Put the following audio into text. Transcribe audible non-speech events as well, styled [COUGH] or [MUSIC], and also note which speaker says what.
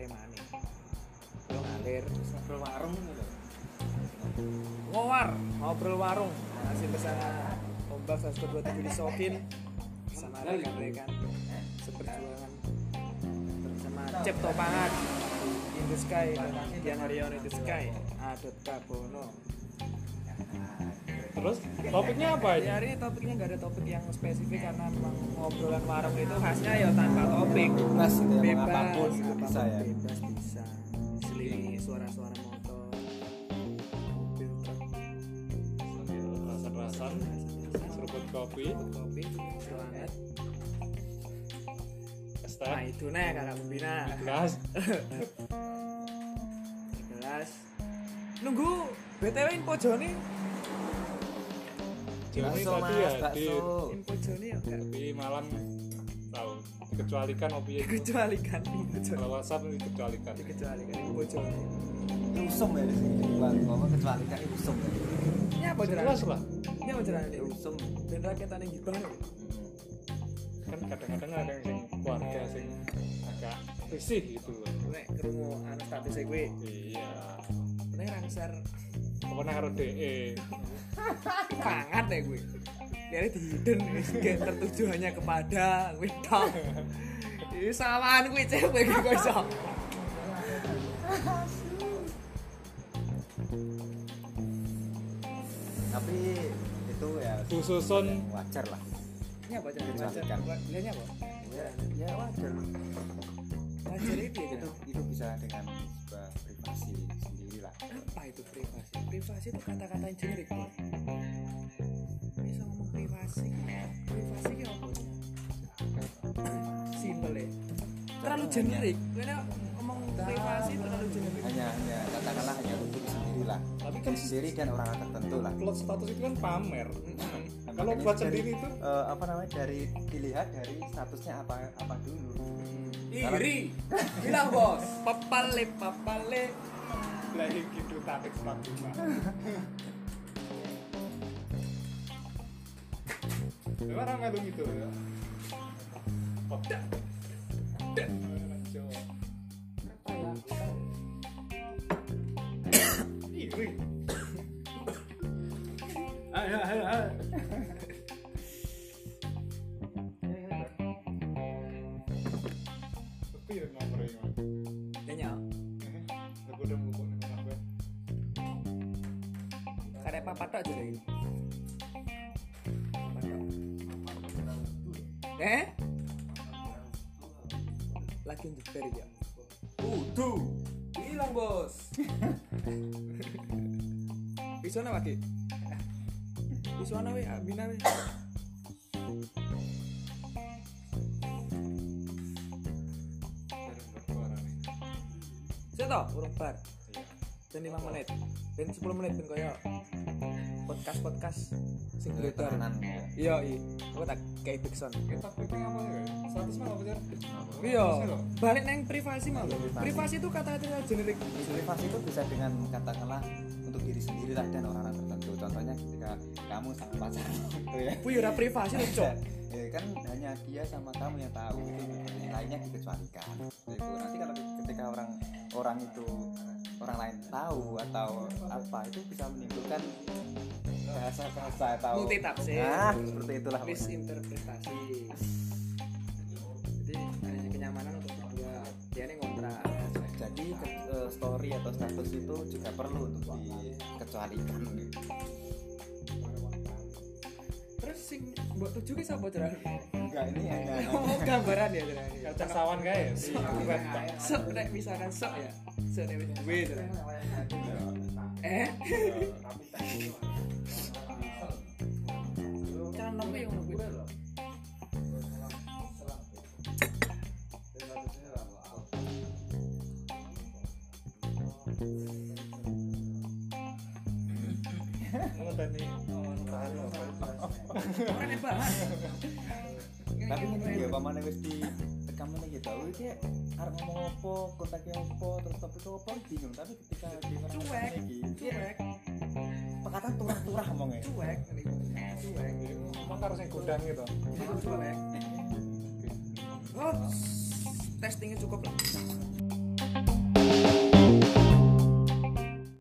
Speaker 1: eh,
Speaker 2: maneh. Yo ngalir
Speaker 1: Terus ngobrol warung gitu.
Speaker 2: ngowar
Speaker 1: Ngobrol warung. Masih bersama Ombak 127 di Sokin bersama rekan-rekan seperjuangan bersama Cep Topangan in the sky dan Dian Haryono in the sky Adot Kabono
Speaker 3: Terus topiknya apa
Speaker 1: Jadi
Speaker 3: ini?
Speaker 1: hari ini topiknya nggak ada topik yang spesifik karena memang ngobrolan warung itu khasnya ya tanpa topik
Speaker 4: bebas gitu ya
Speaker 1: bebas
Speaker 4: mau apapun gitu
Speaker 1: apapun
Speaker 4: bisa ya
Speaker 1: bebas bisa selingi suara-suara motor mobil truk
Speaker 3: Rasan-rasan, seruput kopi,
Speaker 1: kopi selangat
Speaker 3: es
Speaker 1: nah
Speaker 3: teh,
Speaker 1: itu nih kakak pembina
Speaker 3: gas.
Speaker 1: jelas nunggu btw info Joni
Speaker 3: Joni
Speaker 4: bakso
Speaker 3: tadi
Speaker 4: mas
Speaker 3: ya di,
Speaker 4: bakso
Speaker 1: info Joni ya enggak
Speaker 3: di malam tahu dikecualikan opi itu.
Speaker 1: dikecualikan info Joni
Speaker 3: Kalau WhatsApp dikecualikan.
Speaker 1: dikecualikan info Joni
Speaker 4: Ini usum ya di sini di Bandung apa kecuali kan usum ya
Speaker 1: ini apa jalan
Speaker 3: Jelas lah.
Speaker 1: ini apa jalan ini
Speaker 4: Ya, usum
Speaker 1: dan rakyatan yang gibah loh.
Speaker 3: Kan kadang-kadang ada yang sing keluarga sing agak risih gitu loh.
Speaker 1: nek kerungu anu statusnya gue
Speaker 3: Iya.
Speaker 1: nek rangsar
Speaker 3: Pokoknya E, harus DE.
Speaker 1: banget ya gue dari di hidden gak tertuju hanya kepada gue dong ini samaan gue cewek gue kok iso
Speaker 4: tapi itu ya
Speaker 3: Bu Susun
Speaker 4: wajar lah
Speaker 1: ini apa cara wajar
Speaker 4: Dijelaskan.
Speaker 1: ini apa
Speaker 4: ya, ya wajar lah
Speaker 1: wajar itu ya
Speaker 4: itu itu bisa dengan sebuah privasi sendiri lah
Speaker 1: apa itu privasi privasi itu kata-kata yang generik Bro. bisa ngomong privasi privasi kayak apa sih? simple ya terlalu generik karena ngomong privasi terlalu generik
Speaker 4: hanya hanya katakanlah hanya untuk sendiri lah
Speaker 3: Tapi kan
Speaker 4: diri sendiri dan orang tertentu lah
Speaker 3: upload status itu kan pamer.
Speaker 4: Nah,
Speaker 3: Kalau
Speaker 4: makanya
Speaker 3: upload
Speaker 4: dari,
Speaker 3: sendiri itu
Speaker 4: eh, apa namanya dari dilihat dari statusnya apa apa dulu
Speaker 1: iri bilang bos papale papale
Speaker 3: lagi gitu tarik statusnya. Orang melu gitu ya. Pedak. Pedak. Orang Jawa. Ih, wih. Ayo, ayo, ayo. Tapi ya ngobrol ini.
Speaker 1: kayaknya
Speaker 3: Aku ya. udah mau ngomong apa?
Speaker 1: karena papa tok aja lagi Papa tok. eh lagi nyeber ya udu hilang [LAUGHS] bos pisau lagi pisau nawa Ah, bina we. Saya tau, urung bar Ben 5 menit Ben 10 menit Ben koyo Podcast-podcast Sing
Speaker 4: Dulu
Speaker 1: beredar
Speaker 4: temenan ya.
Speaker 1: Iya i Aku tak kayak Big Son
Speaker 3: Kita pikir apa ya? Status mah apa sih?
Speaker 1: Iya Balik neng privasi mah Privasi itu kata-kata generik
Speaker 4: privasi itu bisa dengan katakanlah untuk diri sendiri lah dan orang-orang tertentu contohnya ketika kamu sama pacar gitu ya
Speaker 1: Bu yura privasi loh cok
Speaker 4: ya kan hanya dia sama kamu yang tahu gitu yang lainnya dikecualikan Nah, itu nanti kalau ketika orang orang itu orang lain tahu atau apa itu bisa menimbulkan bahasa bahasa atau
Speaker 1: Multitafsir.
Speaker 4: nah seperti itulah
Speaker 1: Misinterpretasi Jadi adanya kenyamanan untuk berdua Dia ini ngontrak
Speaker 4: jadi ke- eh, story atau status itu juga perlu untuk dikecualikan gitu.
Speaker 1: Terus sing Mbak tujuh ke siapa cerah
Speaker 4: enggak ini hanya
Speaker 1: [LAUGHS]
Speaker 4: [LAUGHS]
Speaker 1: Oh gambaran ya cerah
Speaker 3: Kaca sawan kayak
Speaker 1: Iya. Sok nek misalkan sok ya Sok nek wis duwe cerah [LAUGHS] Eh Canom ya ngono kuwi.
Speaker 3: Ngenteni
Speaker 1: Ora nek bahas.
Speaker 4: tapi mungkin ya paman wis di rekaman lagi tahu iki arep ngomong apa kontaknya apa terus topik apa bingung tapi ketika di
Speaker 1: Cuek. Cuek,
Speaker 4: perkataan turah-turah ngomongnya
Speaker 1: cuek, cuek.
Speaker 3: Emang harus yang gudang gitu
Speaker 1: Oh, testingnya cukup lah.